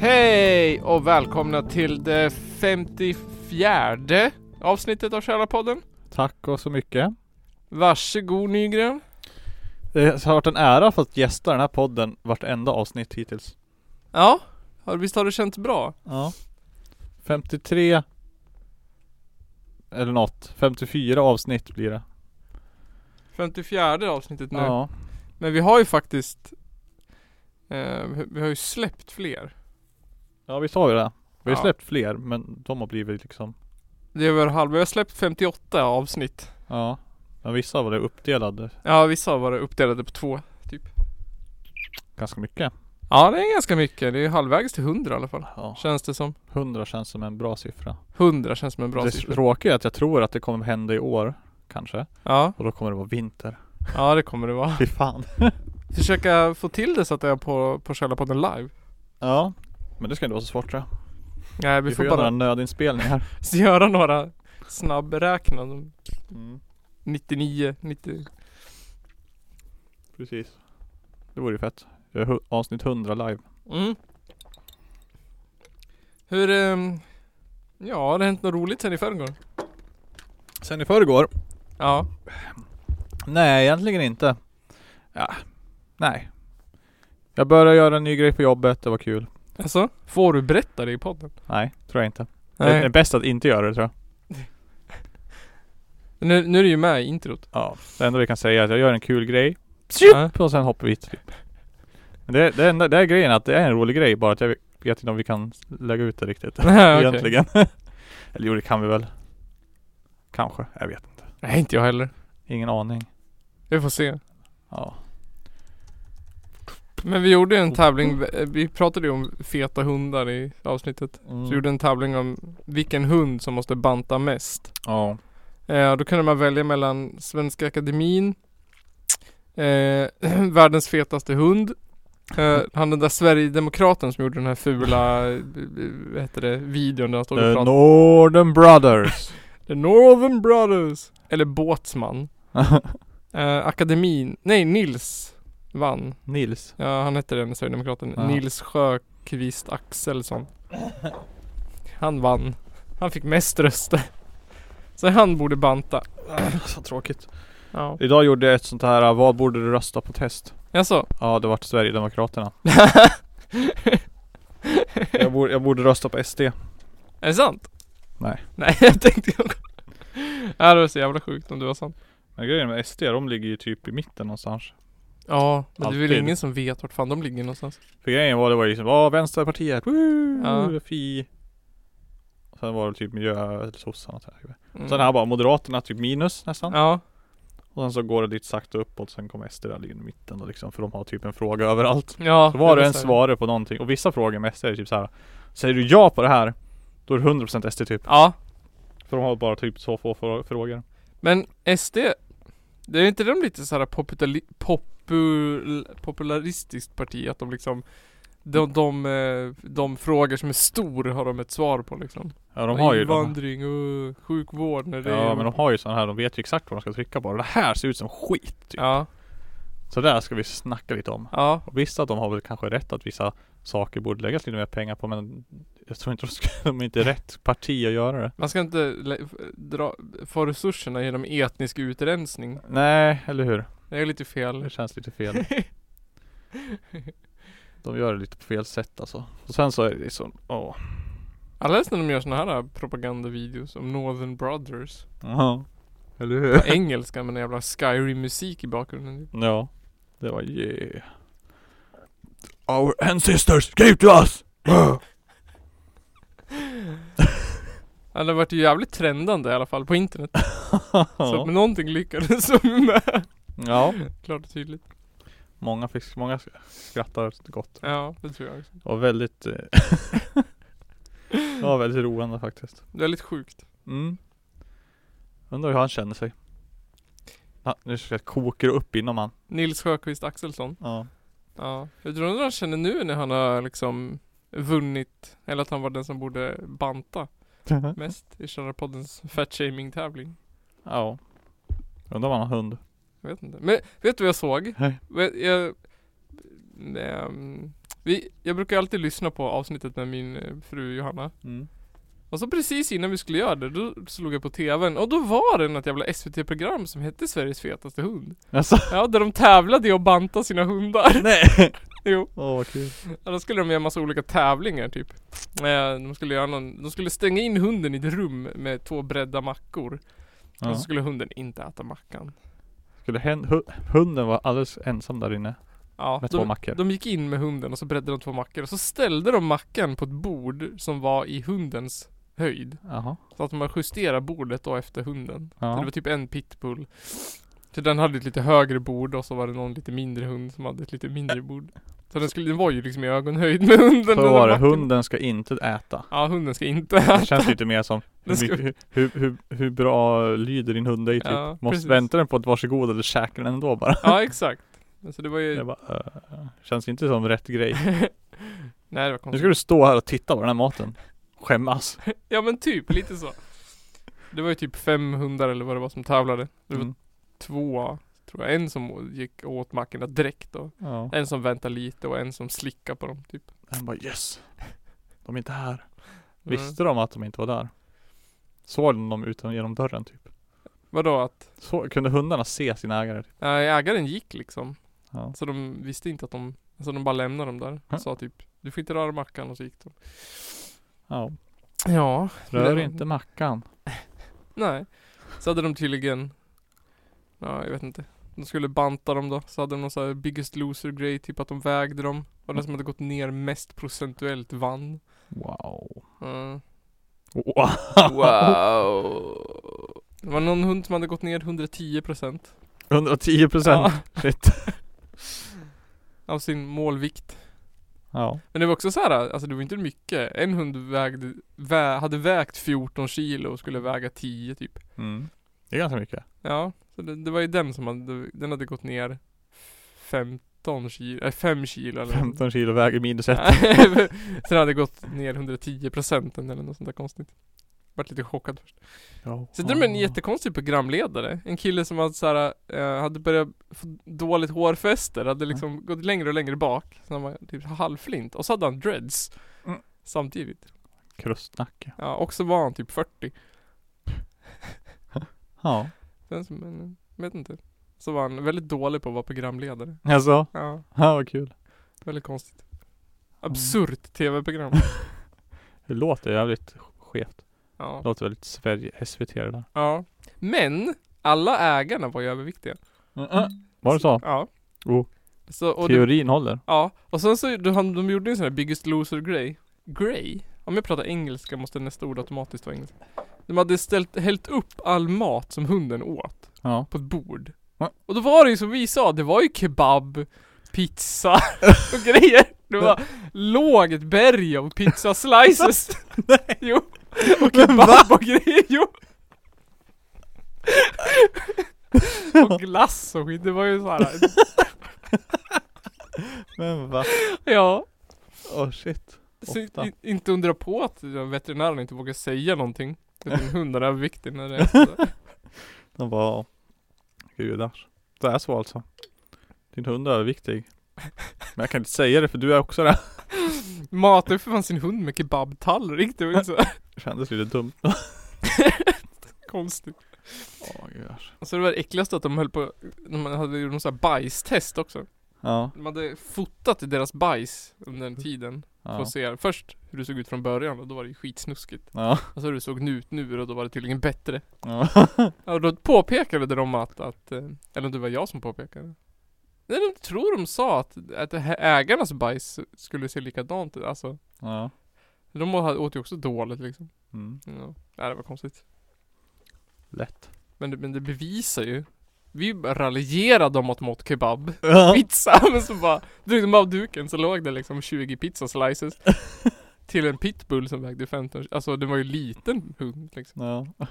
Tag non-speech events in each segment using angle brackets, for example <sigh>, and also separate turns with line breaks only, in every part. Hej och välkomna till det 54 avsnittet av Källarpodden.
Tack och så mycket.
Varsågod Nygren.
Det har varit en ära att få gästa den här podden vartenda avsnitt hittills.
Ja, har- visst har det känts bra?
Ja. 53 eller något. 54 avsnitt blir det.
54 avsnittet nu.
Ja.
Men vi har ju faktiskt eh, vi- Vi har ju släppt fler.
Ja, vi sa ju det. Vi har
Ja.
släppt fler, men de har blivit liksom
Det är över halva. Vi har släppt 58 avsnitt.
Ja. Men vissa var det uppdelade
Ja, vissa har varit uppdelade på två.
ganska mycket.
Ja, det är ganska mycket. Det är halvvägs till 100 i alla fall.
Ja.
Känns det som.
100 känns som en bra siffra.
100 känns som en bra
det
siffra.
tråkiga är att jag tror att det kommer hända i år. Kanske.
Ja,
Och då kommer det vara vinter.
ja det kommer det vara.
Fy fan.
Försöka få till det så att det är på, på Källarpodden live.
Ja. Men det ska inte vara så svårt tror jag.
Nej,
Vi,
vi,
får,
får
göra
bara
några nödinspelningar.
<laughs> göra några snabbräknanden.
Mm.
99, 90.
Precis. Det vore ju fett. Jag har hu- avsnitt 100 live.
Mm. Hur, ehm, ja har det hänt något roligt sen i förrgår?
Sen i förrgår?
Ja.
Nej, egentligen inte. Ja, nej. Jag började göra en ny grej på jobbet, det var kul.
Alltså? Får du berätta det i podden?
Nej, tror jag inte. Det är bäst att inte göra det tror jag.
Nu, nu är det ju med i introt.
Ja. Det enda vi kan säga är att jag gör en kul grej
Ja.
och sen hoppar vi hit. Typ. Men det, det, enda, det är grejen att det är en rolig grej bara att jag vet inte om vi kan lägga ut det <laughs> riktigt.
Nej, okej.
Egentligen. Eller jo, det kan vi väl. Kanske, jag vet inte.
Nej, inte jag heller.
Ingen aning.
Vi får se.
Ja.
Men vi gjorde ju en tävling. eh, Vi pratade ju om feta hundar i avsnittet. Så vi gjorde en tävling om vilken hund som måste banta mest.
Ja.
Eh, då kunde man välja mellan Svenska Akademin, eh, <clears throat> Världens fetaste hund, eh, han den där Sverigedemokraten som gjorde den här fula, eh, vad heter det, videon där han stod och
The
pratade. <laughs>
Northern Brothers.
The Northern Brothers! Eller Båtsman. Eh, akademin, nej Nils vann.
Nils.
Ja, han hette den Sverigedemokraten.
Ja.
Nils Sjökvist Axelsson. Han vann. Han fick mest röster. Så han borde banta.
<clears throat> Så tråkigt.
Ja.
Idag gjorde jag ett sånt här, äh, vad borde du rösta på test?
Jaså?
Ja, det
<laughs>
vart Sverigedemokraterna. jag, borde, jag borde rösta på SD.
Är det sant?
Nej.
Nej <laughs> jag tänkte jag Ja det var så jävla sjukt om det var sant.
Men grejen med SD, de ligger ju typ i mitten någonstans.
Ja, men det är väl
Alltid.
ingen som vet vart fan de ligger någonstans.
För grejen var, det var ju liksom, ah Vänsterpartiet, woo,
Ja.
fi. Sen var det typ miljö eller sossarna och så här.
Mm.
Sen här bara Moderaterna typ minus nästan.
Ja.
Och sen så går det lite sakta uppåt, sen kommer SD där liggande i mitten då liksom. För de har typ en fråga överallt.
Ja.
Så var du
det
en
så här.
svarar på någonting och vissa frågor mest är det typ så här. Säger du ja på det här Då är det 100% SD typ
Ja.
För de har bara typ så få frå- frågor
Men SD, det är inte de lite såhär populari popul popularistiskt parti? Att de liksom de, de, eh, de frågor som är stor har de ett svar på liksom.
Ja de har ju de,
Invandring och sjukvård när det
Ja
är
men de typ. har ju sådana här De vet ju exakt vad de ska trycka på Det här ser ut som skit typ.
Ja,
Så där ska vi snacka lite om
ja.
Och visst att de har väl kanske rätt att vissa Saker borde läggas lite mer pengar på men Jag tror inte de, ska, <laughs> de är inte rätt parti att göra det
Man ska inte lä- dra, få resurserna genom etnisk utrensning.
Nej eller hur
Det är lite fel.
Det känns lite fel De gör det lite på fel sätt alltså Och sen så är det så Åh
Alldeles när de gör såna här propagandavideos om Northern Brothers.
Ja Eller hur
På engelska med en jävla Skyrim-musik i bakgrunden.
Ja, det var yeah. Our ancestors gave to us!
Ja, det vart ju jävligt trendande i alla fall på internet. Så att någonting lyckades de <laughs> med.
ja,
Klart och tydligt.
många, fick, många skrattar gott.
Ja, det tror jag också.
Det var väldigt, eh, <laughs> det var väldigt roande faktiskt.
Det är lite sjukt.
Mm. Undrar hur han känner sig. Ah, nu ska jag koka upp inom han.
Nils Sjöqvist Axelsson.
Ja.
Ja. Jag tror undrar han känner nu när han har liksom vunnit. Eller att han var den som borde banta mest i Källarpoddens fatshaming-tävling.
ja. Undrar om han har hund.
Jag vet inte. Men vet du vad jag såg?
Nej.
Vet- Jag, ehm, vi, jag brukar alltid lyssna på avsnittet med min eh, fru Johanna.
Mm.
Och så precis innan vi skulle göra det, då slog jag på tvn och då var det något jävla SVT-program som hette Sveriges fetaste hund.
Alltså,
Ja, där de tävlade i att banta sina hundar.
<laughs> nej!
<laughs> Jo.
Åh vad kul.
Ja, då skulle de göra massa olika tävlingar typ. Eh, De skulle göra någon, de skulle stänga in hunden i ett rum med två bredda mackor. Och
Ja.
så skulle hunden inte äta mackan.
Skulle hen, hu- hunden vara alldeles ensam där inne
Ja,
med två
de,
mackor?
de gick in med hunden och så bredde de två mackor. Och så ställde de mackan på ett bord som var i hundens höjd.
Jaha.
Så att man justerar bordet då efter hunden. Så det
Ja.
var typ en pitbull. Så den hade ett lite högre bord och så var det någon lite mindre hund som hade ett lite mindre bord. Så den, skulle, den var ju liksom i ögonhöjd med hunden. den
Så
där
var det,
macken.
hunden ska inte äta.
Ja, hunden ska inte
<laughs> Det
äta.
känns lite mer som
Den ska-
hur, mycket, hur, hur, hur bra lyder din hund dig typ?
Ja,
Måste
precis.
vänta den på ett varsågod eller käkar den ändå bara?
Ja exakt. Alltså det var ju...
Jag bara, eh, känns inte som
<laughs>
rätt grej.
Nej det var
Nu
konstigt.
ska du stå här och titta på den här maten. Skämmas.
Ja men typ, lite så. Det var ju typ fem hundar eller vad det var som tävlade. Det var
Mm.
två, tror jag. En som gick och åt mackorna direkt då.
Ja.
En som väntade lite och en som slickade på dem typ.
Han bara yes. De är inte här.
Mm.
Visste de att de inte var där? Såg de dem utan genom dörren typ?
Vadå att?
Så, kunde hundarna se sin ägare? Typ?
Nej ägaren gick liksom.
Ja.
Så de visste inte att de, alltså de bara lämnade dem där.
Mm.
Och sa typ Du får inte röra mackan och så gick de.
ja.
Ja.
Rör
Det-
inte mackan.
Nej. Så hade de tydligen, ja jag vet inte. De skulle banta dem då, så hade de någon sån här biggest loser grej, typ att de vägde dem. Och den som hade gått ner mest procentuellt vann.
Wow.
Mm.
Wow.
Wow. Det var någon hund som hade gått ner 110%
110
ja,
procent. Shit.
av sin målvikt.
Ja.
Men det var också så här, alltså det var inte mycket. En hund vägde, vä- hade vägt 14 kilo och skulle väga 10 typ.
Mm. Det är ganska mycket.
Ja, så det, det var ju den som hade, den hade gått ner 15 kilo, äh, 5 kilo eller
15 kilo väger minus ett.
<laughs> Sen hade det gått ner 110 procenten eller något sånt där konstigt. Vart lite chockad först.
Ja.
Sen är det en jättekonstig programledare. En kille som hade, så här, eh, hade börjat få dåligt hårfäste, hade
Mm.
liksom gått längre och längre bak. Så han var typ halvflint. Och så hade han dreads.
Mm.
Samtidigt.
Krustnacke.
Ja, och så var han typ 40.
Ja.
Sen som, men, vet inte. Så var han väldigt dålig på att vara programledare.
Alltså.
Ja.
Ja vad kul.
Väldigt konstigt.
Mm.
Absurt
<laughs>
tv-program.
Det låter jävligt skevt. Det
Ja.
låter väldigt Sverige, SVT det där.
ja. Men alla ägarna var ju överviktiga.
Var det så?
Ja.
Oh.
Så, och det,
Teorin håller.
ja. Och sen så, de, han- de gjorde ju en sån här Biggest Loser-grej. Grej? Om jag pratar engelska måste nästa ord automatiskt vara engelska. De hade ställt, hällt upp all mat som hunden åt
Ja.
på ett bord.
Va?
Och då var det ju som vi sa, det var ju kebab, <laughs> pizza och grejer. Det var låg ett berg av pizza-slices. <laughs> Nej. Jo. Och kebab och grejer, <laughs> jo. Och glass och skit, det var ju såhär,
<laughs> Men va?
ja.
Åh shit.
Så in,
Ofta.
in- inte undra på att veterinären inte vågar säga någonting. Att en hund är överviktig när det är sådär.
De bara Gudars. Det är så alltså. Din hund är överviktig. Men jag kan inte säga det för du är också det.
Matar ju för fan sin hund med kebabtallrik, det var ju så <laughs>
Det kändes lite dumt.
konstigt.
Åh gudars.
Och så det var det äckligaste att de höll på, de hade gjort någon sån här bajstest också.
Ja.
De hade fotat i deras bajs under den tiden. För
Ja.
att se först hur det såg ut från början och då var det ju skitsnuskigt.
Ja.
Och så hur det såg ut nu och då var det tydligen bättre.
ja. <laughs>
Ja, och då påpekade de att, att eh, eller om det var jag som påpekade. Nej, de tror de sa att, att det här ägarnas bajs skulle se likadant ut. Alltså,
ja.
de å- åt ju också dåligt liksom.
Mm.
Ja, Nej, det var konstigt.
Lätt.
Men det, men det bevisar ju. Vi bara raljerade om att mått kebab,
Ja.
pizza, <laughs> men så bara drog de av duken så låg det liksom 20 pizza
<laughs>
slices Till en pitbull som vägde 15, alltså den var ju liten hund liksom.
Ja.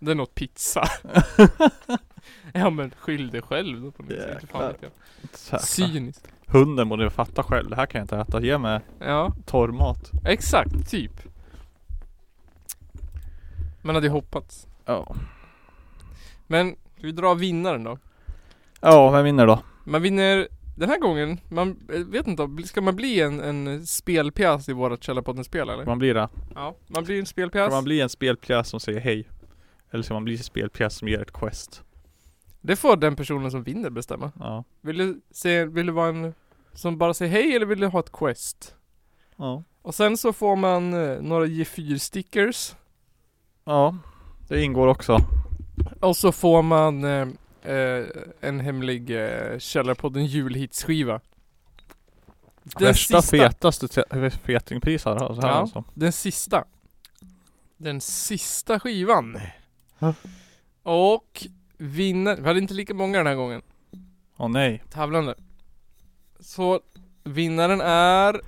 Den åt
<laughs>
pizza. ja men skyll dig själv då på något sätt. Inte fan vet jag.
Säkert.
Cyniskt.
Hunden borde fatta själv. Det här kan jag inte äta. Ge mig
Ja,
torrmat.
exakt, typ. Man hade ju hoppats.
Ja.
Men Ska vi dra vinnaren då?
Ja, vem vinner då?
Man vinner den här gången, man eh, vet inte, om- ska man bli en, en spelpjäs i vårat Källarpodden-spel eller?
Man blir det.
Ja, man blir en
Ska
spelpjäs.
man bli en spelpjäs som säger hej? Eller ska man bli en spelpjäs som ger ett quest?
Det får den personen som vinner bestämma.
Ja.
Vill du, se, vill du vara en som bara säger hej eller vill du ha ett quest?
Ja.
Och sen så får man eh, några G4-stickers
Ja. Det ingår också.
och så får man eh, eh, en hemlig eh, Källarpodden julhitsskiva. Den
Värsta
sista.
fetaste te- fetingpris här, så här
Ja.
alltså.
Den sista. Den sista skivan.
Ja.
Och vinnaren, vi hade inte lika många den här gången,
Åh nej.
tävlande. Så vinnaren är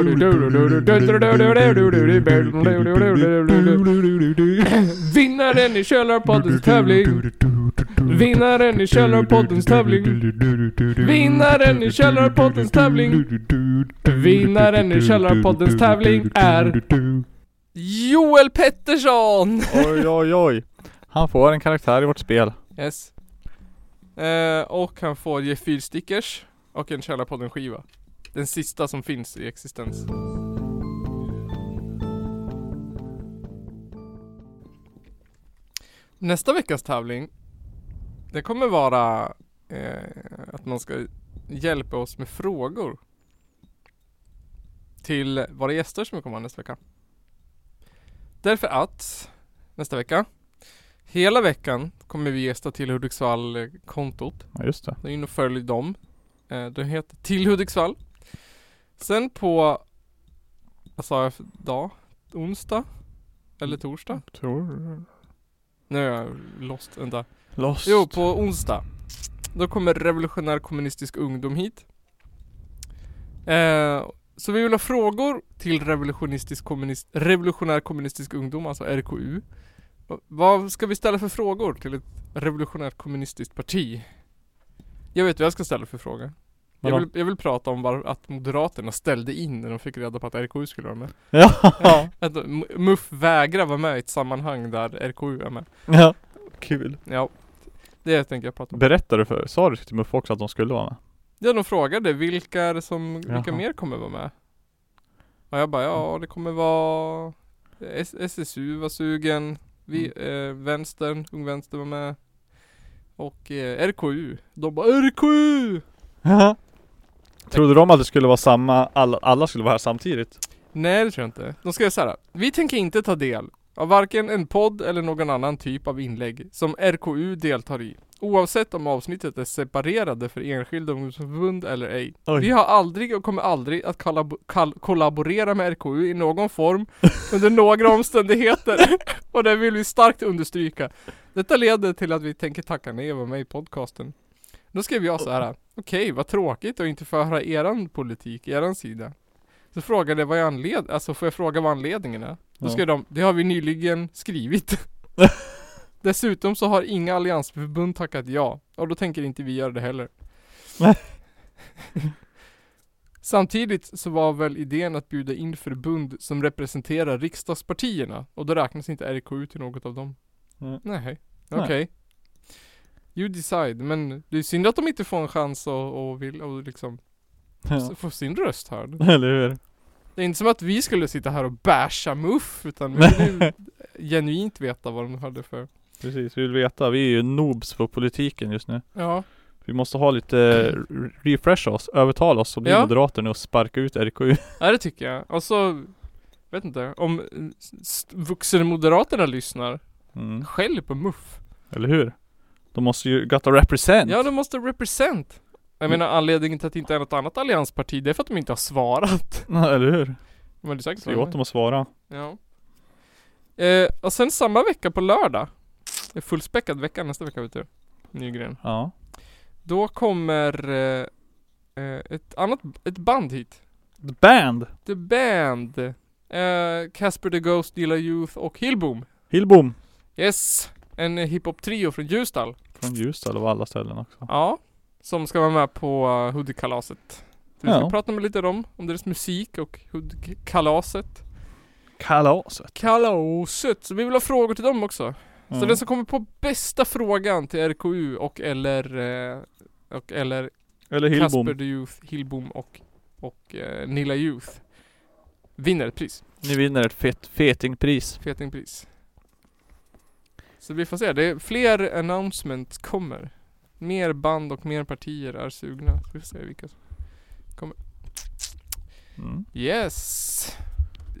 <clears throat> vinnaren i Källarpoddens tävling. Vinnaren i Källarpoddens tävling. Vinnaren i Källarpoddens tävling. Vinnaren i Källarpoddens tävling är Joel Pettersson!
Oj oj oj. Han får en karaktär i vårt spel.
Yes. Eh, och han får ge fyrstickers och en Källarpodden-skiva. Den sista som finns i existens. Nästa veckas tävling Det kommer vara eh, att man ska hjälpa oss med frågor till våra gäster som kommer nästa vecka. Därför att nästa vecka, hela veckan kommer vi gästa till Hudiksvall-kontot.
Ja just det.
Gå in och följ dem. Eh, de heter Till Hudiksvall. Sen på, vad sa jag för dag? Onsdag? Eller torsdag?
Tror...
Nu är jag lost, vänta.
Lost.
Jo, på onsdag. Då kommer Revolutionär Kommunistisk Ungdom hit. Eh, så vi vill ha frågor till revolutionistisk kommunist, Revolutionär Kommunistisk Ungdom, alltså RKU. Va- Vad ska vi ställa för frågor till ett revolutionärt kommunistiskt parti? Jag vet vad jag ska ställa för fråga. Jag
Vadå?
vill, jag vill prata om var, att Moderaterna ställde in när de fick reda på att RKU skulle vara med.
Ja.
<laughs> Att M- MUF vägrar vara med i ett sammanhang där RKU är med.
<laughs> ja. Kul.
Ja, det tänker jag prata om.
Berättade du för, sa du till Muff också att de skulle vara med?
Ja de frågade vilka är det som, vilka
Jaha.
mer kommer vara med? Och jag bara ja det kommer vara S- SSU var sugen, vi, eh, vänstern, Ung Vänster var med och eh, RKU. De bara RKU!
Trodde de att det skulle vara samma, alla, alla skulle vara här samtidigt?
Nej det tror jag inte. De skrev såhär. Vi tänker inte ta del av varken en podd eller någon annan typ av inlägg som RKU deltar i. Oavsett om avsnittet är separerade för enskilda ungdomsförbund eller ej.
Oj.
Vi har aldrig och kommer aldrig att kollab- kall- kollaborera med RKU i någon form under några omständigheter. och det vill vi starkt understryka. Detta leder till att vi tänker tacka nej och vara med i podcasten. Då skrev jag så här. Okej, vad tråkigt att inte få höra eran politik, eran sida. Så frågade jag vad jag anled- alltså får jag fråga vad anledningen är? Då skrev de, det har vi nyligen
<laughs>
skrivit. Dessutom så har inga alliansförbund tackat ja, och då tänker inte vi göra det heller.
Nej.
<laughs> Samtidigt så var väl idén att bjuda in förbund som representerar riksdagspartierna, och då räknas inte RKU till något av dem.
Mm.
Nej, okej.
Nej.
You decide, men det är synd att de inte får en chans och, och vill, och liksom,
Ja.
få sin röst hörd.
<laughs> Eller hur?
Det är inte som att vi skulle sitta här och basha Muff utan vi vill ju genuint veta vad de hade för
Precis, vi vill veta. Vi är ju noobs för politiken just nu.
Ja,
Vi måste ha lite, re- refresha oss, övertala oss och bli
Ja.
moderater nu och sparka ut RKU.
ja det tycker jag. Och så, vet inte, om eh, st- vuxenmoderaterna lyssnar,
Mm.
skäll på Muff.
Eller hur? De måste ju, gotta represent.
Ja de måste represent. Jag menar anledningen till att det inte är något annat alliansparti, det är för att de inte har svarat.
Ja, <laughs> Eller hur?
De hade säkert
Säg åt
svarat.
dem att svara.
Ja. Eh, och sen samma vecka på lördag, det är fullspäckad vecka nästa vecka vet du. Nygren.
Ja.
Då kommer eh, eh, ett annat, ett band hit.
The Band!
The Band. Eh, Casper the Ghost, Dilla Youth och Hillboom.
Hillbom!
Yes! En eh, hiphop-trio från Ljusdal.
Från Ljusdal och alla ställen också.
Ja. Som ska vara med på uh, Hoodie-kalaset. Så Vi ska
Ja.
prata med lite om dem, om deras musik och Hoodie-kalaset.
Kalaset.
Kalaset. Så vi vill ha frågor till dem också. Så
Mm.
den som kommer på bästa frågan till RKU och eller, eh, och eller
Mm. Eller Hillbom.
Kasper the Youth, Hillbom och, och eh, Nilla Youth vinner ett pris.
Ni vinner ett fet, fetingpris.
Fetingpris. Så vi får se. Det är fler announcements kommer. Mer band och mer partier är sugna. Så vi får se vilka som...
Mm.
Yes!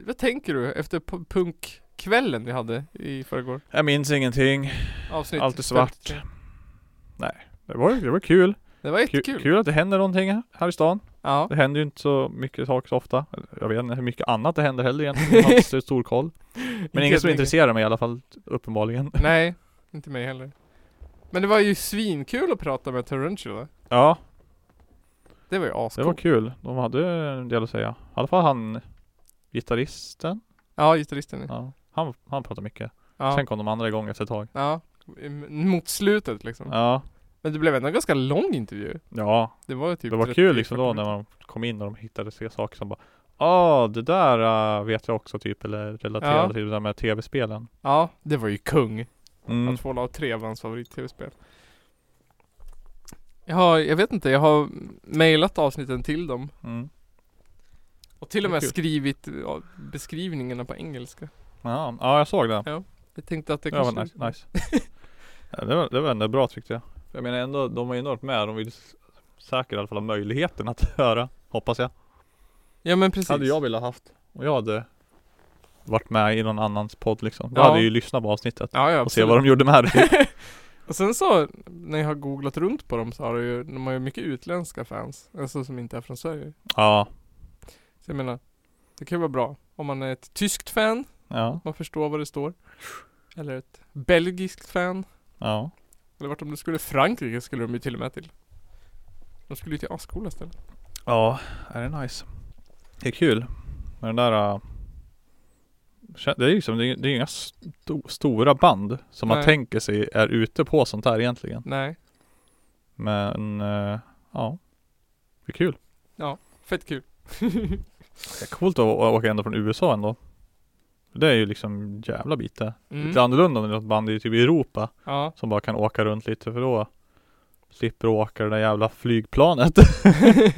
Vad tänker du efter pu- punkkvällen vi hade i förrgår?
Jag minns ingenting.
Avsnitt
Allt är svart.
53.
Det var, det var kul.
Det var
Kul,
jättekul.
kul att det händer någonting här i stan.
Ja.
Det händer ju inte så mycket saker så ofta. Jag vet inte hur mycket annat det händer
<laughs>
heller egentligen. Jag har inte så stor koll. Men inget som intresserar mig i alla fall, uppenbarligen.
<laughs> Nej, inte mig heller. Men det var ju svinkul att prata med Tarantula.
Ja,
Det var ju
det
ascoolt.
var kul. De hade en del att säga. I alla fall han gitarristen.
Ja, gitarristen. Ja.
Ja. Han, han pratade mycket.
Ja.
Sen kom de andra igång efter ett tag.
ja. M- Mot slutet liksom.
Ja.
Men det blev ändå en ganska lång intervju.
Ja,
Det var ju typ
det var
30,
kul liksom
40
då när man kom in och de hittade se saker som bara Ja, det där äh, vet jag också typ eller relaterade
Ja.
till det där med tv-spelen.
Ja, det var ju kung.
Mm.
Att Fallout 3 var hans favorit-tv-spel. Jag har, jag vet inte, jag har mejlat avsnitten till dem.
Mm.
Och till och
Vad
med
kul.
skrivit ja, beskrivningarna på engelska.
Ja, ja, jag såg det.
Jag tänkte att det
Det
kanske...
var nice. nice. <laughs> ja, det, var, det var ändå bra tyckte jag. Jag menar ändå, de var ju enormt med. De ville s- säkert i alla fall ha möjligheten att <laughs> höra, hoppas jag.
Ja men precis.
Hade jag velat haft. Och jag hade varit med i någon annans podd liksom. Då
Ja.
hade jag ju lyssnat på avsnittet.
Ja, ja,
Och se
absolut.
vad de gjorde med det. typ.
<laughs> Och sen så, när jag har googlat runt på dem så har det ju, de har ju mycket utländska fans. Alltså som inte är från Sverige.
<laughs> ja.
Så jag menar, det kan ju vara bra. Om man är ett tyskt fan,
Ja.
man förstår vad det står. Eller ett belgiskt fan.
Ja.
Eller vart de nu skulle, Frankrike skulle de ju till och med till. De skulle ju till ascoola ställen.
Ja, är det nice. Det är kul. Men den där äh, kä- det är ju liksom, det är, det är inga sto- stora band som man
Nej.
tänker sig är ute på sånt här egentligen.
Nej,
Men eh, ja, det är kul.
fett kul.
Det är coolt att å- åka ända från USA ändå. Det är ju liksom jävla bite.
Mm.
Lite annorlunda än något band i typ Europa
Ja.
som bara kan åka runt lite för då slipper du åka det där jävla flygplanet. <laughs>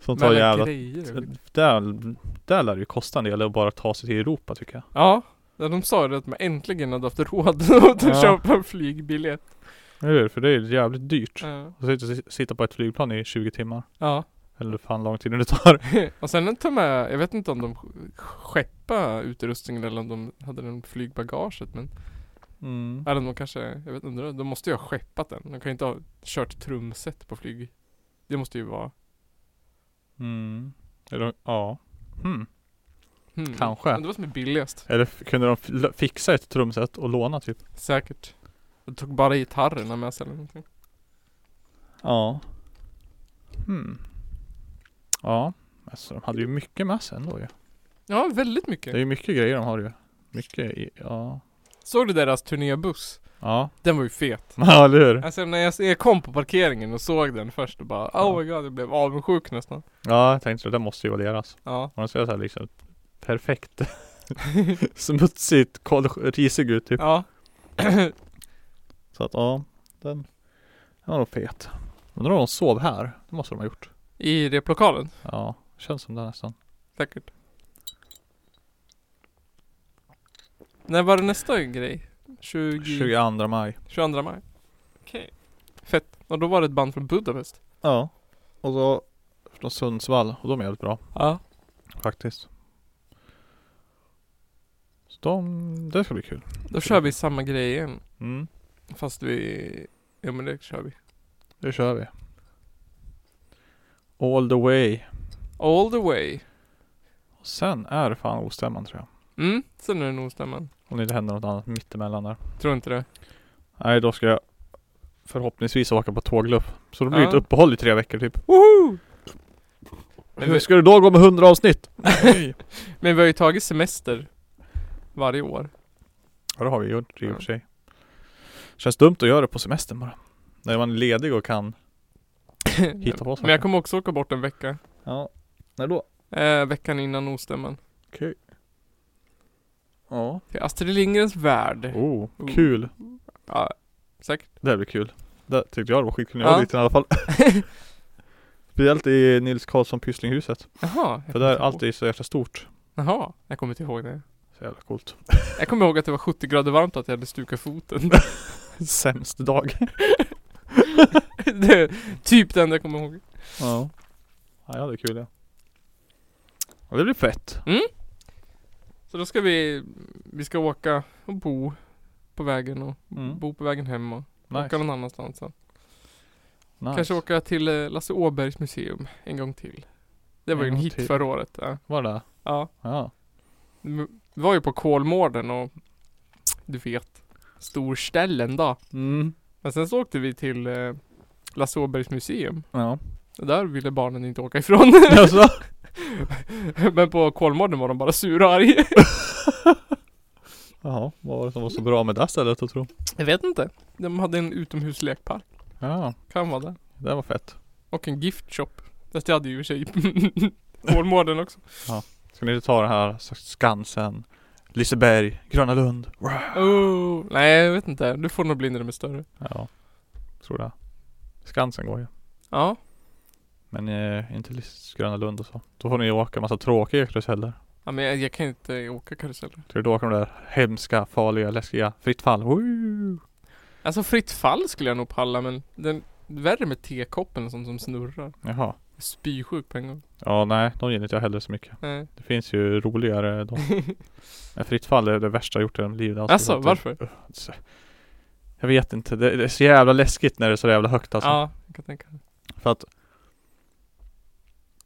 som
Med
tar
alla
jävla...
grejer. och skit.
Där, där lär det ju kosta en del att bara ta sig till Europa tycker jag.
Ja. Ja, de sa ju det att man äntligen hade haft råd <laughs> att
Ja.
köpa en flygbiljett.
Eller hur? För det är ju jävligt dyrt.
Ja.
Och sitta, sitta på ett flygplan i 20 timmar.
ja.
Eller hur fan lång tid det tar.
<laughs> och sen ta med, jag vet inte om de sk- skeppa utrustningen eller om de hade den i flygbagaget men
Mm.
Eller de kanske, jag vet inte, de måste ju ha skeppat den. De kan ju inte ha kört trumset på flyg. Det måste ju vara
Mm. Eller, ja. Hmm.
hmm.
Kanske.
Men det var som är billigast.
Eller f- kunde de f- l- fixa ett trumset och låna typ?
Säkert. De tog bara gitarrerna med sig eller någonting.
Ja. Hmm. Ja. Alltså de hade ju mycket med sig ändå ju.
Ja, väldigt
Det
mycket.
är ju mycket grejer de har ju. Mycket i, ja.
Såg du deras turnébuss?
Ja.
Den var ju fet.
<laughs> Ja eller hur?
Alltså när jag, jag kom på parkeringen och såg den först och bara oh my god, jag blev avundsjuk nästan.
Ja jag tänkte att det måste ju vara deras.
Ja.
Om de ser såhär liksom perfekt <laughs> smutsigt, kol- risig ut typ.
Ja.
Så att ja. Den. Den var nog fet. Undrar om de sov här? Det måste de ha gjort.
I replokalen,
Ja. Känns som det nästan.
säkert. När var det nästa grej? 20...
22 maj.
22 maj. Okej. Fett. Och då var det ett band från Budapest.
Ja. Och så från Sundsvall. Och de är jävligt bra.
Ja.
Faktiskt. Så de, det ska bli kul.
Då kör vi samma grej igen.
Mm,
Fast vi... Ja men det kör vi.
det kör vi. All the way.
All the way.
Och sen är det fan ostämman tror jag.
Mm, sen är det Nordstämman.
Om det inte händer något annat mittemellan där.
Tror inte det.
Nej, då ska jag förhoppningsvis åka på tågluff. Så det blir
Ja.
ett uppehåll i tre veckor typ.
Woho! Men
Hur
vi,
ska det då gå med 100 avsnitt?
men vi har ju tagit semester. Varje <coughs> år.
Ja, det har vi gjort i och
Ja.
för sig. Känns dumt att göra det på semestern bara. När man är ledig och kan hitta på saker.
men jag kommer också åka bort en vecka.
Ja, när då?
Eh, veckan innan Nordstämman.
Okej. Ja.
Till Astrid Lindgrens värld.
Oh,
Oh.
kul.
Ja, säkert.
Det här blir kul. Det tyckte jag var skitkul när jag
Ja.
var liten i
<laughs>
alla fall. Speciellt i Nils Karlsson Pysslinghuset.
Jaha. jag
För där
kommer
allt
inte ihåg.
är så jäkla stort.
Jaha, jag kommer inte ihåg det.
Så jävla
<laughs>
coolt.
Jag kommer ihåg att det var 70 grader varmt och att jag hade stukat foten. <laughs>
Sämst dag.
det är typ det enda jag kommer ihåg.
Ja. Ja, jag hade kul ja. ja. Det blir fett.
Så då ska vi, vi ska åka och bo på vägen och
Mm.
bo på vägen hem och åka
Nice.
någon annanstans sen.
nice.
Kanske åka till eh, Lasse Åbergs museum en gång till. Det var ju
En
en
gång
hit
till.
förra året. Ja.
Var det?
ja.
Ja.
M- Vi var ju på Kolmården och du vet, storställen då.
Mm.
Men sen så åkte vi till eh, Lasse Åbergs museum. <laughs>
Ja.
Och Där ville barnen inte åka <laughs> ifrån.
Alltså.
Men på Kolmården var de bara sura och arga.
Jaha, vad var det som var så bra med det här stället att tro?
<laughs> Jag vet inte. De hade en utomhuslekpark.
Ja,
Kan vara det.
det var fett.
Och en giftshop. Fast det hade ju i och för sig <laughs> Kolmården också.
Ska ni inte ta den här Skansen, Liseberg, Gröna Lund?
Oh, nej jag vet inte. Du får nog bli när de är större.
Ja, tror det. Skansen går ju.
Ja.
Men eh, inte Lis- Gröna Lund och så. Då får ni åka en massa tråkiga karuseller.
ja men jag, jag kan inte åka karuseller.
Ska du åka de där hemska, farliga, läskiga, fritt fall? Woo!
Alltså fritt fall skulle jag nog palla men den värre med tekoppen och sånt som snurrar.
Jaha.
Spysjuk på en gång.
Ja, nej, de gillar inte jag heller så mycket.
Nej.
Det finns ju
<laughs>
roligare då. Men fritt fall är det värsta jag gjort i mitt liv. Alltså,
Alltså
så att det-
varför?
Så- Jag vet inte. Det, det är så jävla läskigt när det är så jävla högt alltså.
Ja, jag kan tänka mig.
För att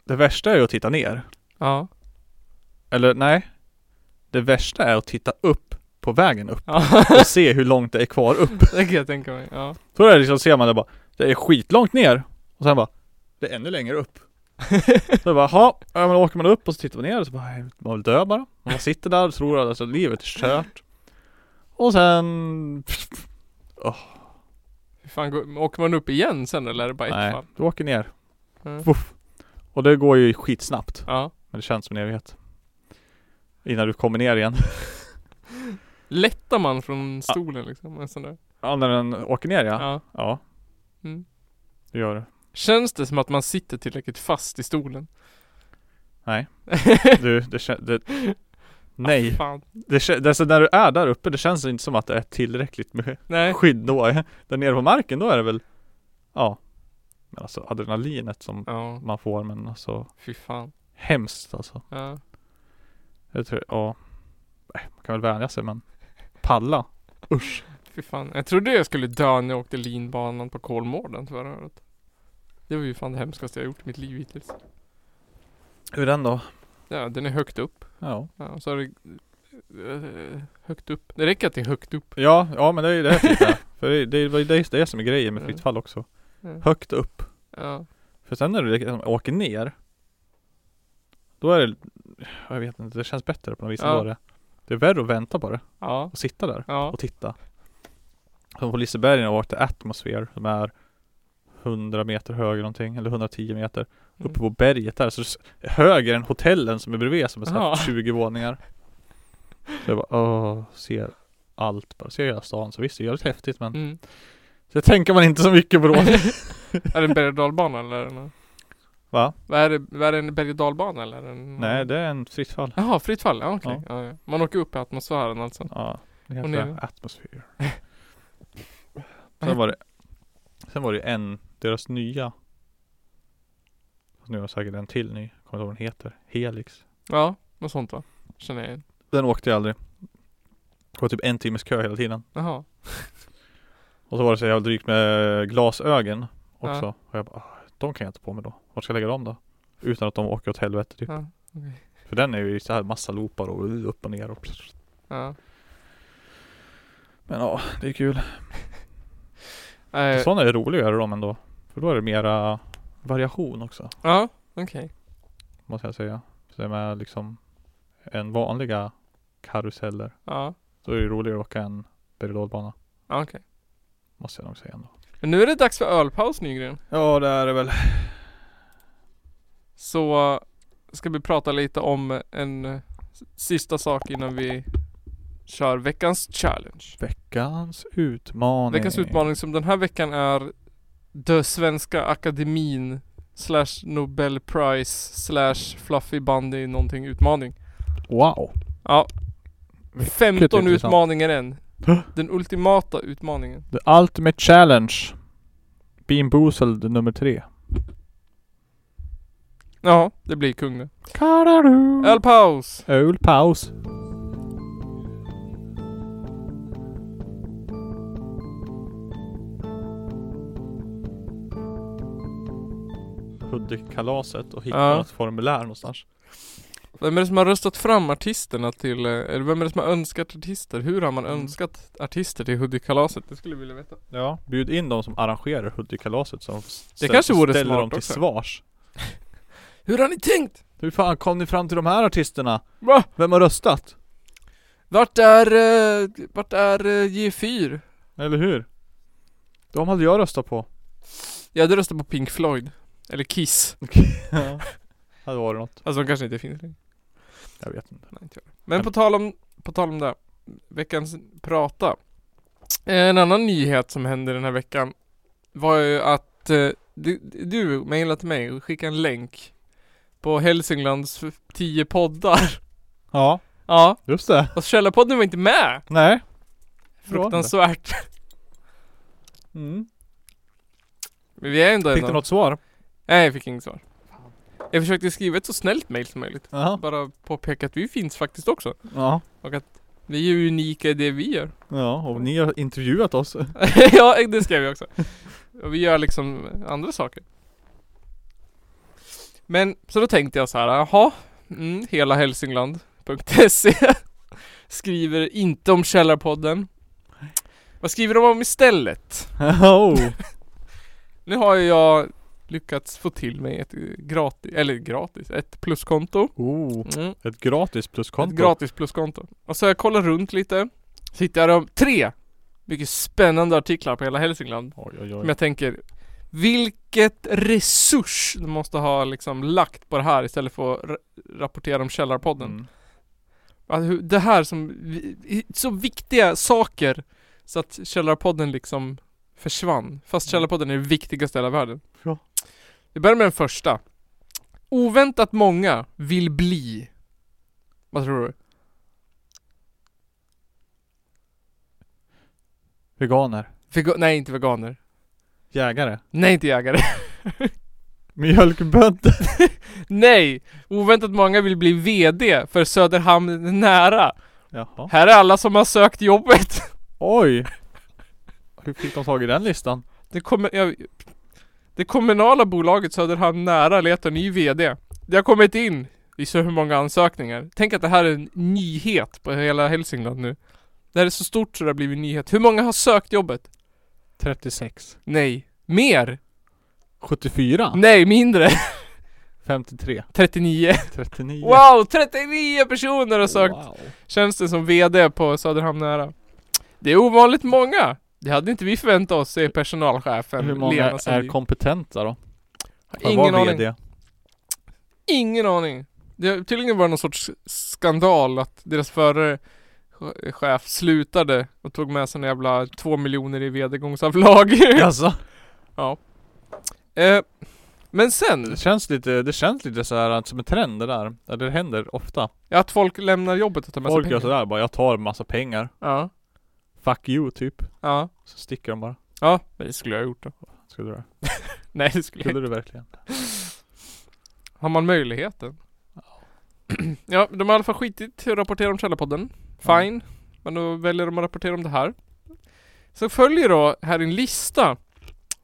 Det värsta är ju att titta ner.
Ja.
Eller nej. Det värsta är att titta upp på vägen upp
Ja,
och se hur långt det är kvar upp.
<laughs> det kan jag tänka mig. <laughs> Ja.
Så är det liksom, ser man det bara. Det är skitlångt ner. Och sen bara. Det är ännu längre upp. Så bara, jaha. Ja men åker man upp och så tittar man ner och så bara, man vill dö bara. Man bara sitter där och tror att alltså, livet är kört. Och sen
Hur fan, går, åker man upp igen sen eller är det bara ett
Nej,
fall?
du åker ner.
Mm.
Voff. Och det går ju skitsnabbt.
Ja.
Men det känns som en evighet. Innan du kommer ner igen.
Lättar man från stolen liksom? En sån där.
Ja, när den åker ner ja.
Ja.
Ja,
Mm.
det gör det.
Känns det som att man sitter tillräckligt fast i stolen?
Nej. Du, det känns... Det... <laughs> <laughs> Nej.
Fan.
Det, kän- det, så när du är där uppe, det känns inte som att det är tillräckligt med
Nej.
skydd då. <laughs> Där nere på marken, då är det väl... Ja. Men alltså adrenalinet som
Ja,
man får, men alltså
fy fan.
hemskt alltså.
Ja.
Jag tror, ja. Nej, Man kan väl vänja sig, men palla. Usch.
Fy fan. Jag trodde jag skulle dö när jag åkte linbanan på Kolmården förra året. Det var ju fan det hemskaste jag gjort i mitt liv hittills.
Hur den då?
Ja, den är högt upp.
Ja.
Ja, och så är det eh, högt upp. Det räcker att det är högt upp.
Ja, ja men det är ju det här fint här. <laughs> För det, det, det, det är just det som är grejen med fritt fall också.
Mm.
Högt upp.
Ja.
För sen när du liksom åker ner. Då är det, jag vet inte, det känns bättre på något vis.
Ja.
Ja. Det. det är värre att vänta på det
Ja.
och sitta där
Ja.
och titta. Som på Liseberg när jag åkte Atmosphere som är 100 meter högre någonting, eller 110 meter.
Mm.
Uppe på berget där, så det är s- högre än hotellen som är bredvid som är så här
Ja.
20 våningar. Så jag bara, åh, ser allt bara, ser hela stan. Så visst, det är jävligt häftigt men
Mm.
Det tänker man inte så mycket på
<laughs>
då. <laughs>
Är det en berg och dalbana eller? Är det
Va?
vad är det? Vad är det? En berg och dalbana eller? Är det en...
Nej, det är en fritt fall.
Jaha, fritt fall? Ja, okej. Ja. Ja, Man åker upp i atmosfären alltså?
Ja, det heter
Och nu?
det.
<laughs>
Atmosphere. sen var det Sen var det en, deras nya Nu har jag säkert en till ny, kommer inte ihåg vad den heter. Helix.
Ja, något sånt va? Känner jag igen.
Den åkte jag aldrig. Det var typ en timmes kö hela tiden.
Jaha.
Och så var det så jävla drygt med glasögon också.
Ja.
Och jag bara, "Ah, de kan jag inte på mig då. Vart ska jag lägga dem då? Utan att de åker åt helvete typ.
Ja.
För den är ju i så här massa loopar och upp och ner och
ja.
Men ja, det är kul.
Eh,
Sådana är roligare de ändå. För då är det mera variation också,
ja, okej.
måste jag säga. Så det är med liksom en vanliga karuseller.
Ja,
Då är det roligare att åka en berg och dalbana,
ja, okej.
måste jag nog säga ändå.
Men nu är det dags för ölpaus Nygren.
Ja, det är det väl.
Så ska vi prata lite om en sista sak innan vi kör veckans challenge.
Veckans utmaning.
Veckans utmaning som den här veckan är Dö Svenska Akademin slash Nobelpris slash Fluffy Bundy någonting utmaning.
Wow.
Ja.
Mycket
15
intressant.
utmaningar än.
Huh?
Den ultimata utmaningen.
The Ultimate Challenge. Bean Boozled nummer tre.
Ja, det blir kung nu.
Kararu.
El Paus!
Öl paus. Hudikkalaset och hitta
Ja.
något formulär någonstans.
Vem är det som har röstat fram artisterna till, eh, eller vem är det som har önskat artister? Hur har man
Mm.
önskat artister till Hudikkalaset? Det skulle jag vilja veta.
Ja. Bjud in de som arrangerar Hudikkalaset som ställ,
kanske vore
ställer
smart
dem till
också.
svars.
Hur har ni tänkt?
Hur fan kom ni fram till de här artisterna?
Va?
Vem har röstat?
Vart är, eh, vart är eh, G4?
Eller hur? De hade jag röstat på.
Jag hade röstat på Pink Floyd. Eller Kiss.
<laughs> ja. Hade varit något.
Alltså de kanske inte finns längre.
Jag vet inte.
Nej, inte jag. Men på tal om, på tal om det. här, Veckans prata. En annan nyhet som hände den här veckan var ju att eh, du, du mejlade till mig och skickade en länk på Hälsinglands 10 poddar. <laughs>
Ja,
Ja,
just det.
och Källarpodden var inte med.
Nej.
Fruktansvärt.
Mm.
Men vi är ändå
Fick
en
du
av-
något svar?
Nej, jag fick inget svar. Jag försökte skriva ett så snällt mejl som möjligt.
Jaha.
Bara påpeka att vi finns faktiskt också.
Ja.
Vi är ju unika i det vi gör.
Ja, och ni har intervjuat <laughs> oss.
<laughs> ja, det skrev jag också. Och vi gör liksom andra saker. Men så då tänkte jag så här, jaha, mm, hela Hälsingland.se <laughs> skriver inte om Källarpodden. Vad skriver de om istället?
oh.
Nu har ju jag lyckats få till mig ett eh, gratis, eller gratis, ett pluskonto.
oh.
Mm,
Ett gratis
ett
pluskonto.
gratis pluskonto. Och så har jag kollat runt lite. Så hittade jag de tre mycket spännande artiklar på hela Hälsingland.
oj, oj,
Men
oj.
jag tänker Vilket resurs du måste ha liksom lagt på det här istället för att ra- rapportera om Källarpodden.
Mm.
Alltså, hur- det här som, vi- i- så viktiga saker så att Källarpodden liksom försvann. Fast
Mm.
Källarpodden är det viktigaste i hela världen.
Ja.
Vi börjar med den första. Oväntat många vill bli. Vad tror du?
Veganer.
Vega- nej, inte veganer.
Jägare.
Nej, inte jägare. <laughs>
Mjölkbönder.
nej! Oväntat många vill bli VD för Söderhamn nära.
Jaha.
Här är alla som har sökt jobbet. <laughs>
Oj. Hur fick de tag i den listan?
Det, kommer, jag, det kommunala bolaget Söderhamn nära letar ny VD. Det har kommit in. Vi ser hur många ansökningar. Tänk att det här är en nyhet på hela Hälsingland nu. Det här är så stort så det har blivit en nyhet. Hur många har sökt jobbet?
36.
Nej. Mer?
74.
Nej, mindre. <laughs>
53.
39.
39.
Wow, 39 personer har sökt
Wow.
tjänsten som VD på Söderhamn nära. Det är ovanligt många. Det hade inte vi förväntat oss, säger personalchefen
Hur många
Lena Sandin.
är kompetenta då?
Har
För att
Ingen
vara
aning.
VD?
Ingen aning. Det har tydligen var någon sorts skandal att deras förre ch- chef slutade och tog med sig en jävla två miljoner i vedergångsavlag. <clears throat>
Alltså.
<laughs> eh, men sen,
Det känns lite, det känns lite så här att som en trend det där. Ja, Det händer ofta.
att folk lämnar jobbet och tar med sig
Folk gör
pengar.
sådär bara, jag tar massa pengar.
Ja,
Fuck you typ.
ja,
Så sticker de bara.
ja. Men det skulle jag ha gjort då.
Skulle du det?
Nej, det skulle jag
Skulle du verkligen?
<laughs> Har man möjligheten? <clears throat> ja, de har i alla fall skitit i att rapportera om Källarpodden. Fine. Men då väljer de att rapportera om det här. Så följer då här en lista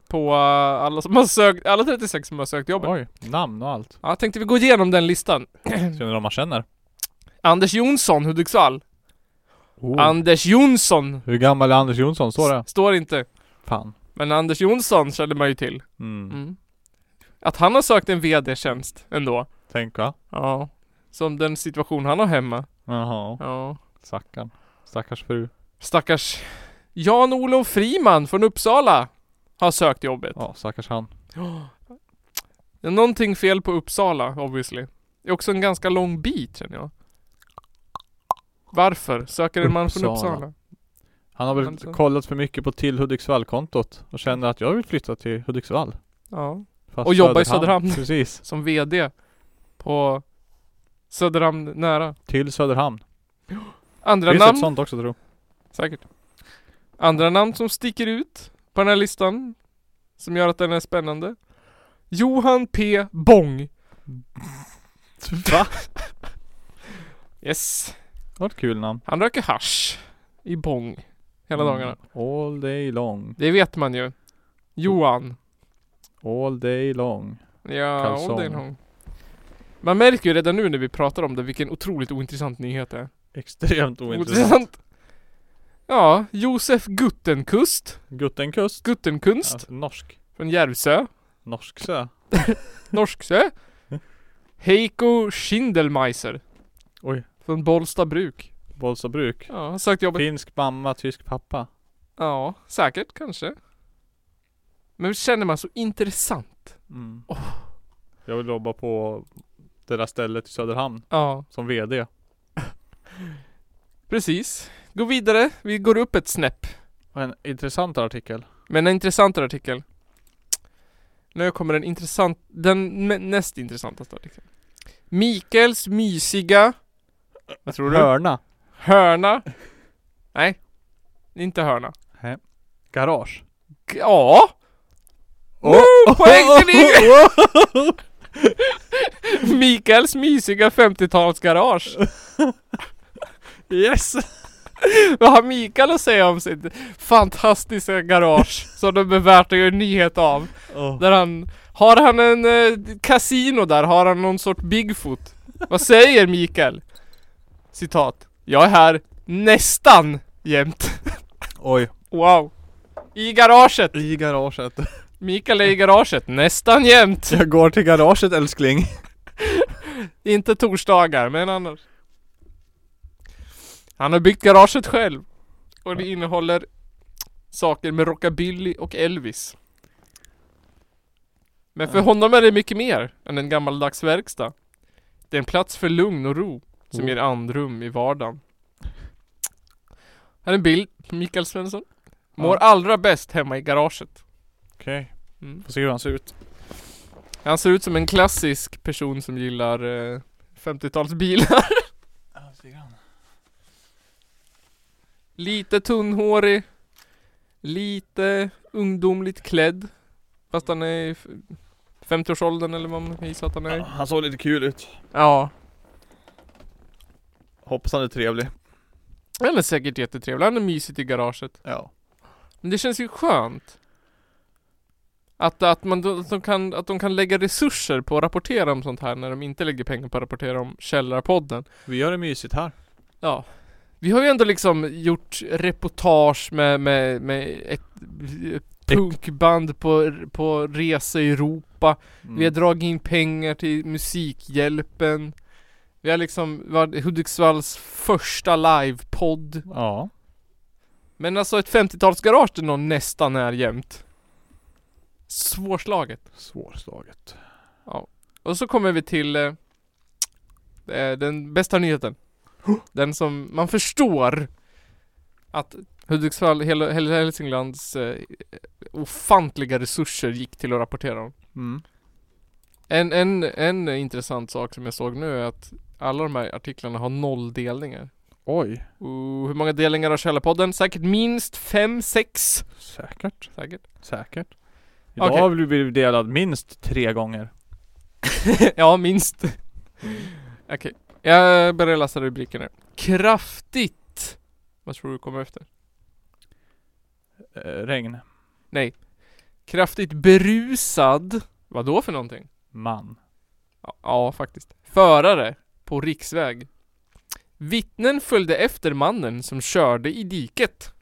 på eh, alla som har sökt, alla 36 som har sökt jobbet.
Oj, namn och allt.
Ja, tänkte vi gå igenom den listan.
Känner de man känner?
Anders Jonsson, Hudiksvall.
An-
Anders Jonsson!
Oh. Hur gammal är Anders Jonsson? Står det?
S- Står inte.
Fan.
Men Anders Jonsson kände man ju till.
Mm.
Mm. Att han har sökt en VD-tjänst ändå.
Tänk va?
Ja. Som den situation han har hemma.
Jaha.
Ja.
Stackarn. Stackars fru.
Stackars Jan-Olof Friman från Uppsala har sökt jobbet.
Ja, stackars han.
Det är någonting fel på Uppsala obviously. Det är också en ganska lång bit känner jag. Varför? Söker en man från
Uppsala.
Uppsala?
Han har väl
Alltså.
kollat för mycket på till Hudiksvall-kontot och känner att jag vill flytta till Hudiksvall.
Ja.
Fast
Och jobba i Söderhamn.
Precis,
Som VD på Söderhamn nära.
till Söderhamn.
Andra
Finns ett
namn,
sånt också tror
säkert. Andra namn som sticker ut på den här listan. Som gör att den är spännande. Johan P Bong.
jag. Va?
<laughs> Yes.
Vad ett kul namn.
Han röker hasch i Bong. Hela
Mm.
dagarna.
All day long.
Det vet man ju. Johan.
All day long.
Ja,
Kalsong.
all day long. Man märker ju redan nu när vi pratar om det vilken otroligt ointressant nyhet det är.
Extremt ointressant.
Ointressant. Ja, Josef Guttenkust.
Guttenkust.
Guttenkunst.
Alltså, norsk.
Från Järvsö.
Norsksö.
Norsksö. Heiko Schindelmeiser.
Oj.
Från Bollsta bruk.
Bollstabruk.
Ja, har sökt jobbet.
Finsk mamma, tysk pappa.
Ja, säkert kanske. Men känner man så intressant?
Mm.
Åh.
Jag vill jobba på det där stället i Söderhamn
Ja,
som VD.
precis. Gå vidare. Vi går upp ett snäpp.
Och En intressantare artikel.
Men en intressantare artikel. Nu kommer den intressant, den nä- näst intressantaste artikeln. Mikaels mysiga, vad tror du?
Hörna.
Hörna? Nej, inte hörna.
Garage.
G- Ja! Woo, poäng till Mikael! <laughs> Mikaels mysiga 50-talsgarage.
Yes!
Vad har Mikael att säga om sitt fantastiska garage som de är värt att göra nyhet av? Där han, har han en eh, kasino där? Har han någon sort Bigfoot? Vad säger Mikael? Citat. Jag är här nästan jämt.
Oj.
Wow. I garaget.
I garaget.
Mikael är i garaget nästan jämt.
<laughs> Jag går till garaget älskling.
Inte torsdagar, men annars. Han har byggt garaget själv. Och det innehåller saker med rockabilly och Elvis. Men för
Ja.
honom är det mycket mer än en gammaldags verkstad. Det är en plats för lugn och ro som
Oh.
ger andrum i vardagen. Här är en bild på Mikael Svensson. Mår allra bäst hemma i garaget.
Okej.
Mm.
Får se hur han ser ut.
Han ser ut som en klassisk person som gillar eh, 50-talsbilar. Lite tunnhårig Lite ungdomligt klädd Fast han är i f- 50-årsåldern eller vad man kan gissa att han är
Han såg lite kul ut.
Ja
Hoppas han är trevlig.
Han är säkert jättetrevlig, han är mysigt i garaget
Ja.
Men det känns ju skönt Att, att, man, då- att, de kan, att de kan lägga resurser på att rapportera om sånt här när de inte lägger pengar på att rapportera om Källarpodden
Vi gör det mysigt här.
Ja Vi har ju ändå liksom gjort reportage med, med, med ett punkband på, på resa i Europa
Mm.
Vi har dragit in pengar till Musikhjälpen Vi har liksom varit Hudiksvalls första livepodd
Ja.
Men alltså ett 50-talsgarage där någon nästan är jämt Svårslaget
Svårslaget.
Och så kommer vi till eh, eh, den bästa nyheten Den som man förstår Att Hudiksvall, hela, hela Hälsinglands eh, ofantliga resurser gick till att rapportera om
Mm.
En, en, en intressant sak som jag såg nu är att alla de här artiklarna har noll delningar.
Oj.
Och hur många delningar har Källarpodden? Säkert minst fem, sex.
Säkert.
Säkert.
Säkert. Idag
Okej.
har vi blivit delad minst tre gånger.
<laughs> ja, minst. <laughs> Okej, jag börjar läsa rubriken nu. Kraftigt. Vad tror du kommer efter?
Eh, regn.
Kraftigt berusad. Vad då för någonting?
Man.
Ja, ja, faktiskt. Förare på riksväg. Vittnen följde efter mannen som körde i diket.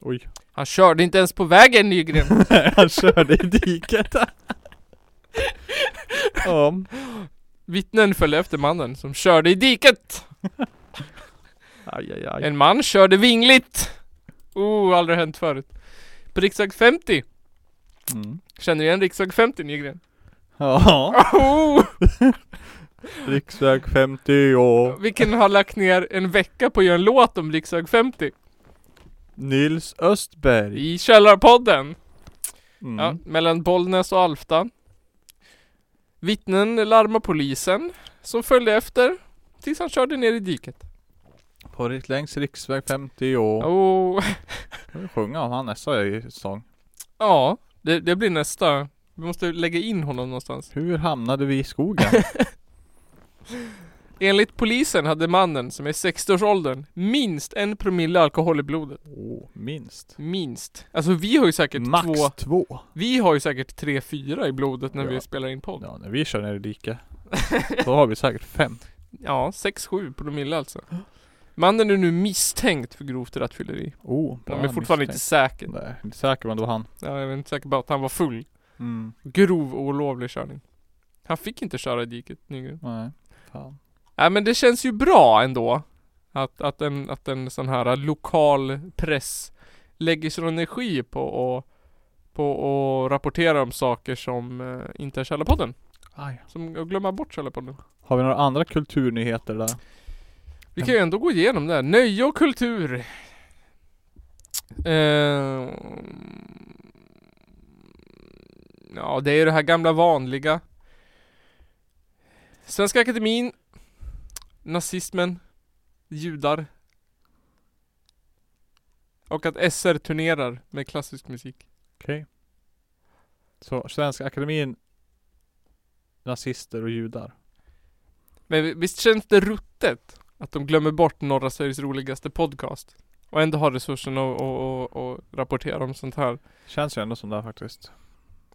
Oj.
Han körde inte ens på vägen Nygren.
<laughs> han körde i diket. ja.
Vittnen följde efter mannen som körde i diket.
Aj, aj, aj.
En man körde vingligt. Oh, aldrig hänt förut. På riksväg 50.
Mm.
Känner du igen riksväg 50 Nygren?
Ja.
Oh!
<laughs> Riksväg 50 och
Vilken har lagt ner en vecka på att göra en låt om riksväg 50
Nils Östberg.
i Källarpodden.
Mm.
Ja, mellan Bollnäs och Alfta. Vittnen larmar polisen som följde efter tills han körde ner i diket.
På rikt- längs riksväg 50 och...
Oh,
Jag vill sjunga om han nästa i sång.
<laughs> ja, det, det blir nästa. Vi måste lägga in honom någonstans.
Hur hamnade vi i skogen?
<laughs> Enligt polisen hade mannen som är i 60-årsåldern minst en promille alkohol i blodet.
Åh, minst.
Minst. Alltså vi har ju säkert
Max
två.
två.
Vi har ju säkert tre fyra i blodet när
Ja.
vi spelar in podd.
Ja, när vi kör ner i diket. Då har vi säkert fem.
<laughs> Ja, 6-7 promille alltså. Mannen är nu misstänkt för grovt rattfylleri.
Oh,
De är fortfarande inte säker.
säkra. Nej, inte säker men det var han.
Ja, jag är inte säker på att han var full.
Mm.
Grov och olovlig körning. Han fick inte köra i diket Nygren.
Nej. Fan.
Nej men det känns ju bra ändå. Att, att, en, att en sån här lokal press lägger sån energi på att på att rapportera om saker som eh, inte är Källarpodden.
Aj.
Som att glömma bort Källarpodden.
Har vi några andra kulturnyheter där?
Vi kan ju ändå gå igenom det här. Nöje och kultur. Eh, ja, det är ju det här gamla vanliga. Svenska Akademin. Nazismen. Judar. Och att SR turnerar med klassisk musik.
Okej. Så Svenska Akademin Nazister och judar.
Men visst känns det ruttet att de glömmer bort norra Sveriges roligaste podcast? Och ändå har resursen att, att, att, att rapportera om sånt här.
Känns ju ändå som det här faktiskt.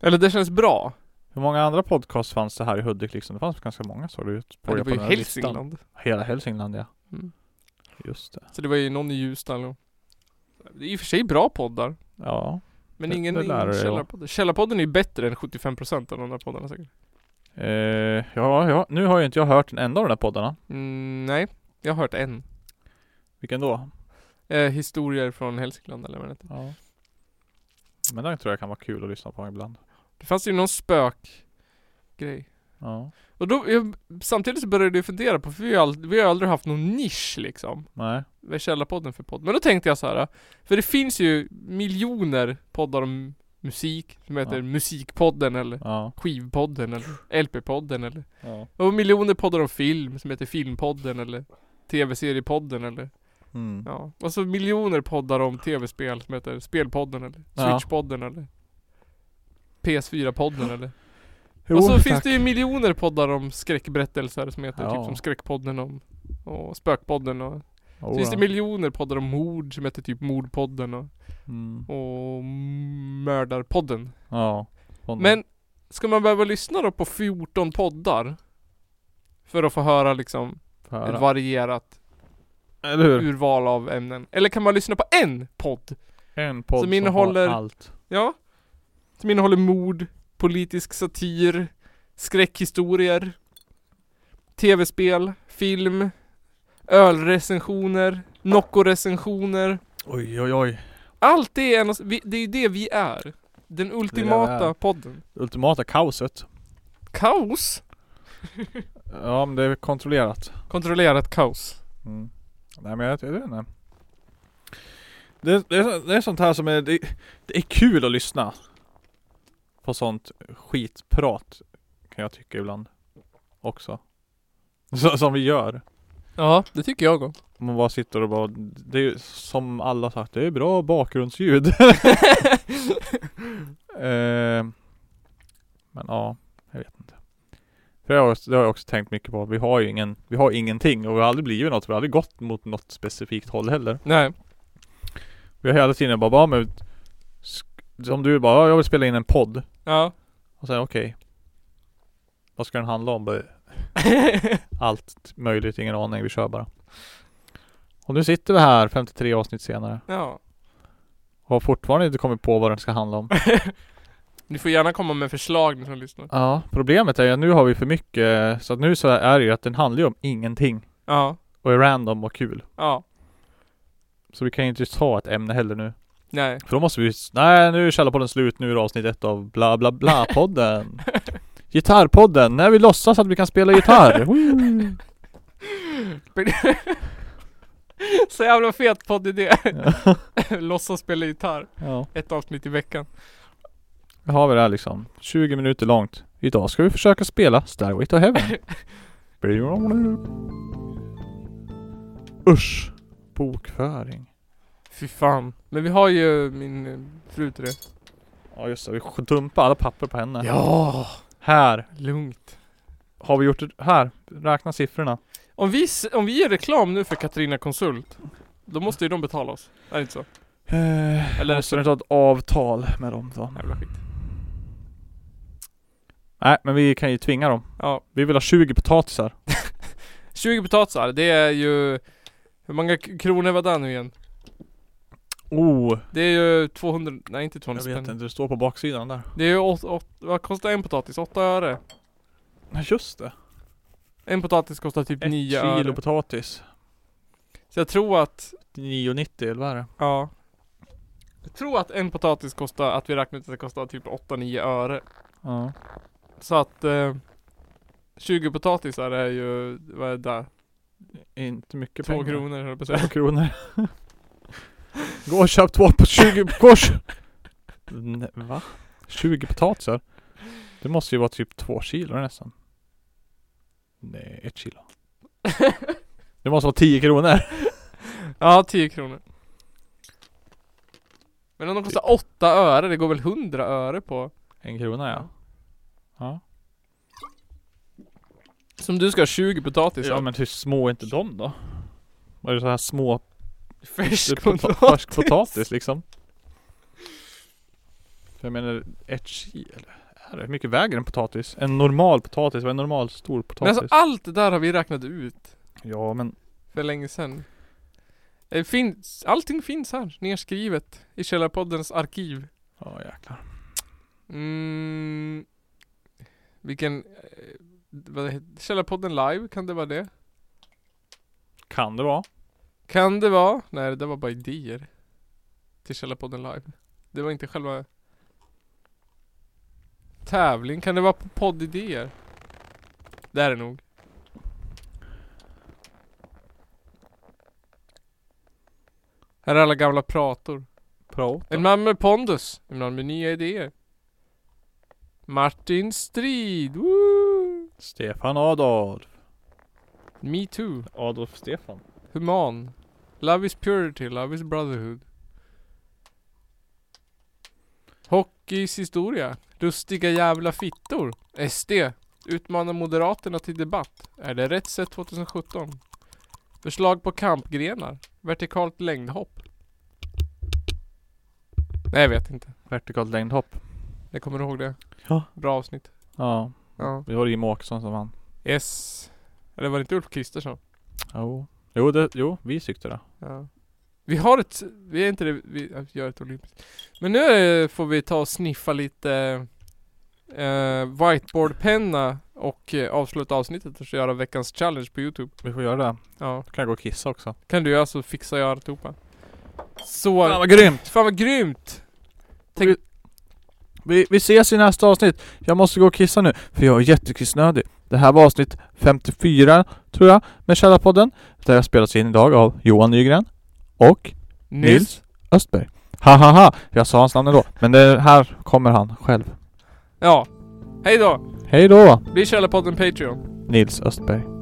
Eller det känns bra.
Hur många andra podcasts fanns det här i Hudik liksom? Det fanns ganska många såg det ut.
Ja, det
på
var ju
den här listan.
Hälsingland.
Hela Hälsingland ja.
Mm.
Just det.
Så det var ju någon i Ljusdal och... Det är i och för sig bra poddar.
Ja.
Men
Det-
ingen,
det lär
ingen
det ju vara.
källarpodd. Källarpodden är ju bättre än 75% av de där poddarna säkert.
Eh, ja, ja, nu har ju inte jag hört en enda av de där poddarna.
Mm, nej, jag har hört en.
Vilken då?
Eh, historier från Hälsingland eller vad det heter.
Ja. Men den tror jag kan vara kul att lyssna på ibland.
Det fanns ju någon spökgrej.
Ja.
Och då, jag, samtidigt så började jag fundera på, för vi har, ald- vi har aldrig haft någon nisch liksom.
Nej.
Vad är Källarpodden för podd? Men då tänkte jag så här. för det finns ju miljoner poddar om musik, som heter
Ja.
Musikpodden eller
Ja.
Skivpodden eller LP-podden eller
ja.
Och miljoner poddar om film som heter Filmpodden eller TV-seriepodden eller
Mm.
Ja, och så miljoner poddar om TV-spel som heter Spelpodden eller
Ja.
Switchpodden eller PS4-podden eller
Jo,
Och så
tack.
finns det ju miljoner poddar om skräckberättelser som heter typ
Ja.
som Skräckpodden om och Spökpodden och
Jo,
så finns det
då.
miljoner poddar om mord som heter typ Mordpodden och,
mm.
och Mördarpodden
Ja. Sån-
Men ska man behöva lyssna då på 14 poddar? För att få höra liksom
Får
ett
höra.
varierat
Eller hur?
urval av ämnen. Eller kan man lyssna på en podd?
En podd
Som
som,
innehåller-
har allt.
Ja. Som innehåller mord, politisk satir, skräckhistorier, tv-spel, film, ölrecensioner, Nocco-recensioner.
Oj, oj, oj.
Allt det är en och, s- vi, Det är ju det vi är. Den ultimata
vi är.
podden.
Ultimata kaoset.
Kaos?
Ja, men det är kontrollerat.
Kontrollerat kaos.
Mm. Nej men jag, jag vet inte. Det, det, är, det är sånt här som är, det, det är kul att lyssna. På sånt skitprat. Kan jag tycka ibland. Också. <laughs> Så, som vi gör.
Ja, det tycker jag om.
Man bara sitter och bara, det är ju som alla sagt, det är bra bakgrundsljud. eh, men ja, jag vet inte. För det har, jag, det har jag också tänkt mycket på. Vi har ju ingen, vi har ingenting och vi har aldrig blivit något. Vi har aldrig gått mot något specifikt håll heller.
Nej.
Vi har hela tiden bara, bara men, sk- som du bara, "Ja, jag vill spela in en podd.
Ja.
Och sen okej. Vad ska den handla om? Bara, Allt möjligt, ingen aning, vi kör bara. Och nu sitter vi här 53 avsnitt senare.
<laughs> ja.
Och har fortfarande inte kommit på vad den ska handla om.
Ni får gärna komma med förslag ni som lyssnar.
Ja, problemet är ju att nu har vi för mycket. Så att nu så är det ju att den handlar ju om ingenting.
Ja.
Och är random och kul.
Ja.
Så vi kan ju inte ta ett ämne heller nu.
Nej.
För då måste vi, nej nu är Källarpodden slut, nu är det avsnitt ett av bla bla bla podden. Gitarrpodden, när vi låtsas att vi kan spela gitarr. Woo!
<laughs> Så jävla fet poddidé. <laughs>
ja.
Låtsas spela gitarr.
ja.
Ett avsnitt i veckan.
Nu har vi det här liksom. 20 minuter långt. Idag ska vi försöka spela Stairway to Heaven. Usch. Bokföring.
Fy fan. Men vi har ju min eh, fru till det.
Ja just det, vi dumpar alla papper på henne.
Ja.
Här
Lugnt.
har vi gjort det. Här, räkna siffrorna.
Om vi, s- om vi gör reklam nu för Katarina Konsult. Då måste ju de betala oss. Är det inte så?
Eh,
Eller-
Eller måste du ta ett avtal med dem då?
Jävla skit.
Nej men vi kan ju tvinga dem.
Ja.
Vi vill ha 20 potatisar.
20 potatisar. Det är ju... Hur många k- kronor var det nu igen?
Oh,
Det är ju 200... Nej inte
jag
200
vet
spänn.
inte, det står på baksidan där.
Det är ju åt, åt, Vad kostar en potatis? 8 öre.
Nej just det.
En potatis kostar typ
Ett
9
kilo
öre.
potatis.
Så jag tror att
9,90 eller vad är det?
Ja. Jag tror att en potatis kostar, att vi räknat att det kostar typ 8-9 öre.
Ja.
Så att eh, 20 potatisar är ju, vad är det? där?
Inte mycket
Två
pengar.
kronor höll jag på att säga. <laughs>
Två kronor. Gå och köp två på 20 Gå och kö- Nej, Va? 20 potatisar? Det måste ju vara typ två kilo nästan. Nej, ett kilo. Det måste vara 10 kronor.
Ja, 10 kronor. Men om de kostar 8 öre, det går väl 100 öre på?
En krona ja. Ja.
Som du ska ha 20 potatisar.
Ja men hur små är inte de då? Var det så här små
Färsk
pota-
potatis.
färsk potatis liksom? För jag menar ett kilo? Är det? Hur mycket väger en potatis? En normal potatis? Vad är en normal stor
Men
potatis?
alltså ah! allt det där har vi räknat ut
Ja men
för länge sedan. Det finns, allting finns här, nerskrivet i Källarpoddens arkiv.
Ja jäklar.
Mm, vilken... eh, Vad heter, Källarpodden live, kan det vara det?
Kan det vara?
Kan det vara? Nej det där var bara idéer. Till Källarpodden live. Det var inte själva... Tävling, kan det vara på poddidéer? Det här är nog. Här är alla gamla prator.
Pro?
En man med pondus. En man med nya idéer. Martin Strid. Woo!
Stefan Adolf.
Me too.
Adolf Stefan.
Human. Love is purity. Love is brotherhood. Hockeys historia. Rustiga jävla fittor. SD. Utmanar Moderaterna till debatt. Är det rätt sätt 2017? Förslag på kampgrenar. Vertikalt längdhopp. Nej, jag vet inte.
Vertikalt längdhopp.
Jag kommer ihåg det.
Ja.
Bra avsnitt.
Ja.
Ja.
Det var Jimmie Åkesson som vann.
Yes. Eller var det inte Ulf Kristersson?
Jo. Jo, det, jo vi tyckte det.
Ja. Vi har ett, vi är inte det, vi ja, vi gör ett olympiskt. Men nu eh, får vi ta och sniffa lite eh, whiteboardpenna och eh, avsluta avsnittet och så göra veckans challenge på youtube.
Vi får göra det.
Ja.
Då kan jag gå och kissa också.
Kan du alltså göra så fixar jag alltihopa. Så,
Fan vad grymt!
fan vad grymt! Tänk,
Vi, vi ses i nästa avsnitt. Jag måste gå och kissa nu, för jag är jättekissnödig. Det här var avsnitt 54, tror jag, med Källarpodden. Där jag spelas in idag av Johan Nygren och
Nils?
Östberg. Ha ha ha! Jag sa hans namn ändå, men det här kommer han själv.
Ja. Hej då!
Hej då!
Bli Källarpodden Patreon.
Nils Östberg.